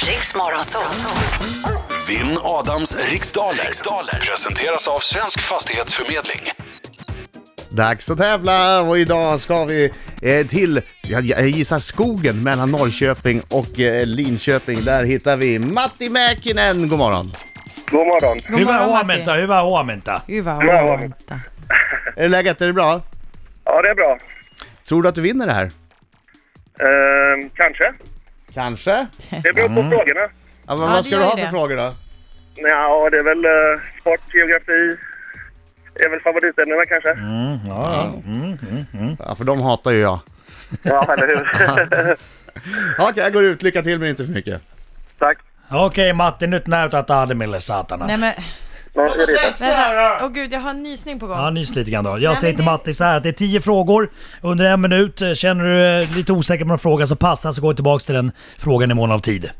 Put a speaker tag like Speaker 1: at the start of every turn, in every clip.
Speaker 1: Riks Morgonzoo.
Speaker 2: Vinn Adams riksdaler. riksdaler. Presenteras av Svensk Fastighetsförmedling.
Speaker 3: Dags att tävla och idag ska vi eh, till, jag, jag gissar skogen mellan Norrköping och eh, Linköping. Där hittar vi Matti Mäkinen, god morgon.
Speaker 4: God morgon.
Speaker 5: Hyvää
Speaker 6: morgon,
Speaker 5: huomenta, hyvää huomenta.
Speaker 6: Hyvää
Speaker 4: Hyvää
Speaker 6: huomenta.
Speaker 3: Är det läget? Är det bra?
Speaker 4: Ja, det är bra.
Speaker 3: Tror du att du vinner det här?
Speaker 4: Ehm, kanske.
Speaker 3: Kanske?
Speaker 4: Det beror på frågorna.
Speaker 3: Ja, men
Speaker 6: Ja,
Speaker 3: vad
Speaker 6: det
Speaker 3: ska du
Speaker 6: gör
Speaker 3: ha
Speaker 6: det.
Speaker 3: för frågor då?
Speaker 4: Ja, det är väl eh, sport, geografi. Det är väl favoritämnena kanske.
Speaker 3: Ja, för de hatar ju jag.
Speaker 4: Ja, eller hur?
Speaker 3: Ja, Okej, jag går ut. Lycka till men inte för mycket.
Speaker 4: Tack.
Speaker 5: Okei Matti, nyt näytät Ademille saatana.
Speaker 6: Nej men,
Speaker 4: Nå, är det.
Speaker 6: vänta. Åh gud, jag har en nysning på gång.
Speaker 5: Ja, nys lite grann då. Jag säger
Speaker 6: men
Speaker 5: till
Speaker 6: det-
Speaker 5: Matti så här att det är tio frågor under en minut. Känner du eh, lite osäker på någon fråga så passa så går vi tillbaka till den frågan i mån av tid.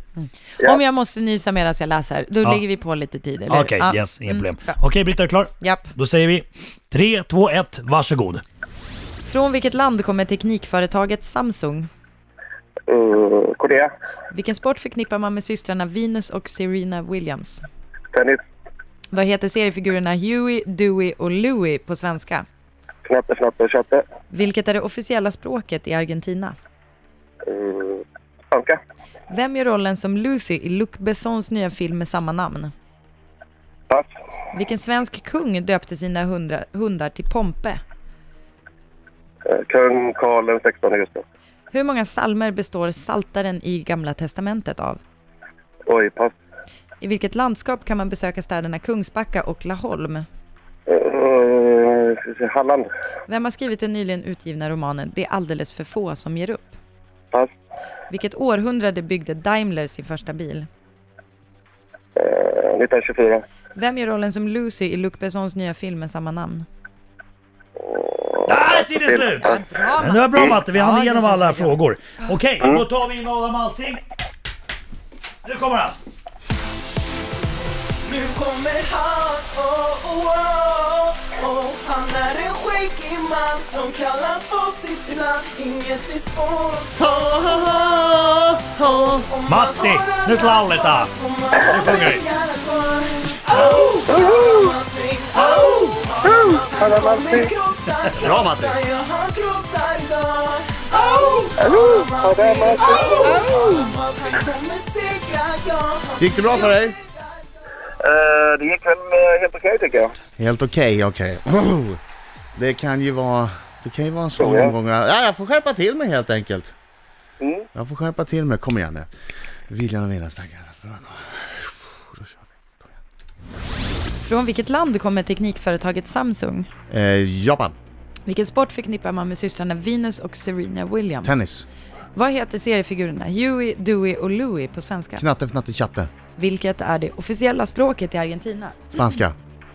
Speaker 6: Om jag måste nysa medan jag läser, då lägger vi på lite tid, eller hur?
Speaker 5: Okej, yes, inga
Speaker 6: Mm,
Speaker 5: problem.
Speaker 6: bra.
Speaker 5: Okej Britta, är du klar?
Speaker 6: Japp.
Speaker 5: Då säger vi 3, 2, 1, varsågod.
Speaker 6: Från vilket land kommer teknikföretaget Samsung?
Speaker 4: Uh, Korea.
Speaker 6: Vilken sport förknippar man med systrarna Venus och Serena Williams?
Speaker 4: Tennis.
Speaker 6: Vad heter seriefigurerna Huey, Dewey och Louie på svenska?
Speaker 4: Knatte, fnatte, tjatte.
Speaker 6: Vilket är det officiella språket i Argentina?
Speaker 4: Uh, Spanska.
Speaker 6: Vem gör rollen som Lucy i Luc Bessons nya film med samma namn?
Speaker 4: Pass.
Speaker 6: Vilken svensk kung döpte sina hundra, hundar till Pompe?
Speaker 4: Eh, Kung Karl den 16 augusti.
Speaker 6: Hur många salmer består Saltaren i Gamla Testamentet av?
Speaker 4: Oj, pass.
Speaker 6: I vilket landskap kan man besöka städerna Kungsbacka och Laholm?
Speaker 4: Uh, ska vi se, Halland.
Speaker 6: Vem har skrivit den nyligen utgivna romanen Det är alldeles för få som ger upp?
Speaker 4: Pass.
Speaker 6: Vilket århundrade byggde Daimler sin första bil?
Speaker 4: Eh, 1924.
Speaker 6: Vem gör rollen som Lucy i Luc Bessons nya film med samma namn?
Speaker 5: Där är tiden slut! Men det var bra Matte, vi hann
Speaker 6: Ja,
Speaker 5: igenom
Speaker 6: det är
Speaker 5: alla
Speaker 6: så bra.
Speaker 5: frågor. Okej, då tar vi in Adam Alsing. Nu kommer han!
Speaker 7: Nu kommer han, oh, oh, oh, oh. Han är en skäggig man som kallas på sitt namn Inget är svårt om man
Speaker 5: Matti,
Speaker 7: har
Speaker 5: nyt
Speaker 7: alla
Speaker 5: lauletaan.
Speaker 7: svar, får man
Speaker 5: Nu sjunger vi.
Speaker 7: pengarna kvar. Han kommer krossa,
Speaker 3: Bra, Matti.
Speaker 7: krossa, ja, han krossar idag. Oh, Adam Alsing, oh, Adam Alsing kommer segra, ja, han
Speaker 3: Gick det bra för dig?
Speaker 4: Eh, det gick väl eh, helt okej tycker jag.
Speaker 3: Helt okej, okej. Oh, det kan ju vara... Det kan ju vara en svår
Speaker 4: Tror jag.
Speaker 3: omgång. Ja, jag får skärpa till mig helt enkelt.
Speaker 4: Mm.
Speaker 3: Jag får skärpa till mig. Kom igen nu. Viljan och viljan staggar. Bra, kom. Då kör
Speaker 6: Från vilket land kommer teknikföretaget Samsung?
Speaker 3: vi. Eh, Japan.
Speaker 6: Vilken sport förknippar man med systrarna Venus och Serena Williams?
Speaker 3: Tennis.
Speaker 6: Vad heter seriefigurerna Huey, Dewey och Louie på svenska?
Speaker 3: Knatte, fnatte, tjatte.
Speaker 6: Vilket är det officiella språket i Argentina?
Speaker 3: Spanska.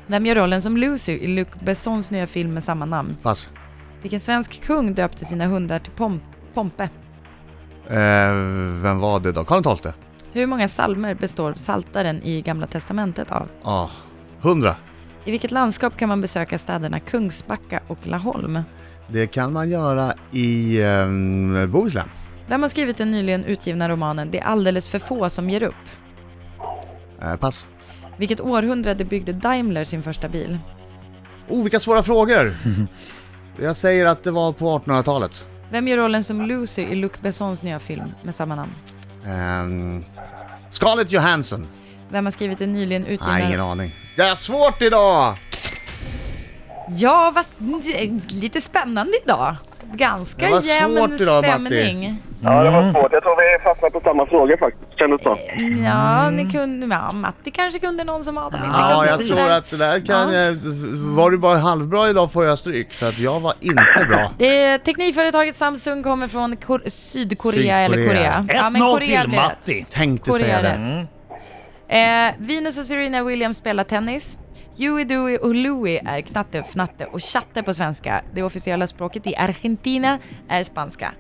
Speaker 6: Vem gör rollen som Lucy i Luc Bessons nya film med samma namn?
Speaker 3: Pass.
Speaker 6: Vilken svensk kung döpte sina hundar till Pom- Pompe?
Speaker 3: Eh, vem var det då? Karl XII?
Speaker 6: Hur många salmer består Saltaren i Gamla Testamentet av?
Speaker 3: Ja. Hundra.
Speaker 6: I vilket landskap kan man besöka städerna Kungsbacka och Laholm?
Speaker 3: Det kan man göra i eh, Bohuslän.
Speaker 6: Vem har skrivit den nyligen utgivna romanen Det är alldeles för få som ger upp?
Speaker 3: Eh, pass.
Speaker 6: Vilket århundrade byggde Daimler sin första bil?
Speaker 3: Oh, vilka svåra frågor! Jag säger att det var på 1800-talet.
Speaker 6: Vem gör rollen som Lucy i Luc Bessons nya film med samma namn?
Speaker 3: Ehm, Scarlett Johansson.
Speaker 6: Vem har skrivit den nyligen utgivna...
Speaker 3: Nej, ingen aning. Det är svårt idag!
Speaker 6: Ja, vad, det är lite spännande idag. Ganska
Speaker 3: Det var
Speaker 6: jämn
Speaker 3: svårt idag, Matti.
Speaker 6: stämning.
Speaker 4: Ja, det var svårt. Jag tror vi fastnade på samma fråga faktiskt, kändes så.
Speaker 6: Ja, ni kunde, ja, Matti kanske kunde någon som Adam inte
Speaker 3: Mm. Ja,
Speaker 6: kunde.
Speaker 3: jag
Speaker 6: sådär.
Speaker 3: tror att det där kan...
Speaker 6: Ja.
Speaker 3: jag- Var du bara halvbra idag får jag stryk, för att jag var inte bra.
Speaker 6: Det är, teknikföretaget Samsung kommer från Kor- Sydkorea, eller Korea.
Speaker 5: 1-0 till
Speaker 6: blir rätt.
Speaker 5: Matti.
Speaker 3: Tänkte
Speaker 6: Korea
Speaker 3: säga
Speaker 6: är
Speaker 3: det.
Speaker 6: rätt. Eh, Venus och Serena Williams spelar tennis. Huey, Dewey och Louie är knatte, fnatte och chatte på svenska. Det officiella språket i Argentina är spanska.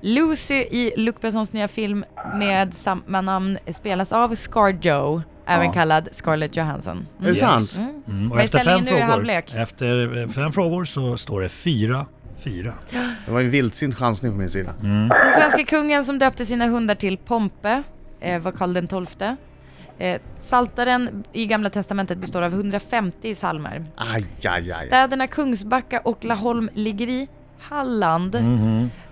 Speaker 6: Lucy i Luc Bessons nya film med samma namn spelas av Scar Joe, även kallad Scarlett Johansson.
Speaker 3: Är det sant?
Speaker 5: Mm, och
Speaker 6: Vad är
Speaker 5: efter fem,
Speaker 6: ställningen nu i
Speaker 5: frågor,
Speaker 6: halvlek?
Speaker 5: efter eh, fem frågor så står det 4-4.
Speaker 3: Det var en vildsint chansning från min sida.
Speaker 5: Mm.
Speaker 6: Den svenska kungen som döpte sina hundar till Pompe. eh, var Karl den XII. Eh, Saltaren i Gamla Testamentet består av 150 psalmer.
Speaker 3: Aj, aj, aj.
Speaker 6: Städerna Kungsbacka och Laholm ligger i Halland.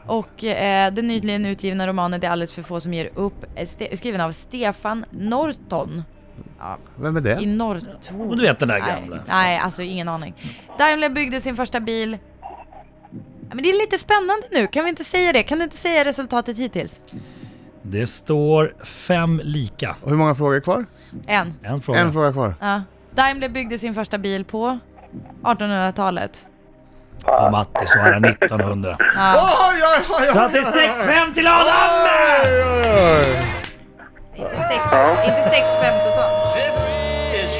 Speaker 6: Och eh, den nyligen utgivna romanen Det är alldeles för få som ger upp är ste- skriven av Stefan Norton. Ja,
Speaker 3: Vem är det?
Speaker 6: I Norrtorp.
Speaker 5: Men du vet den där
Speaker 6: Nej,
Speaker 5: gamla.
Speaker 6: nej, alltså ingen aning. Daimler byggde sin första bil. Ja, Men det är lite spännande nu, kan vi inte säga det? Kan du inte säga resultatet hittills?
Speaker 5: Det står fem lika.
Speaker 3: Och hur många frågor är kvar?
Speaker 6: En.
Speaker 5: En fråga.
Speaker 3: En fråga kvar.
Speaker 6: Ja. Daimler byggde sin första bil på 1800-talet.
Speaker 5: Ja, Matti svarar 1900.
Speaker 6: Ja.
Speaker 3: Oj, oj, oj,
Speaker 5: Så att det är 6-5 till Adam!
Speaker 6: Inte sex- Inte 6-5 totalt.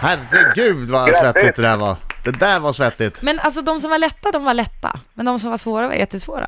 Speaker 3: Herregud vad svettigt det där var. Det där var svettigt.
Speaker 6: Men alltså de som var lätta, de var lätta. Men de som var svåra var jättesvåra.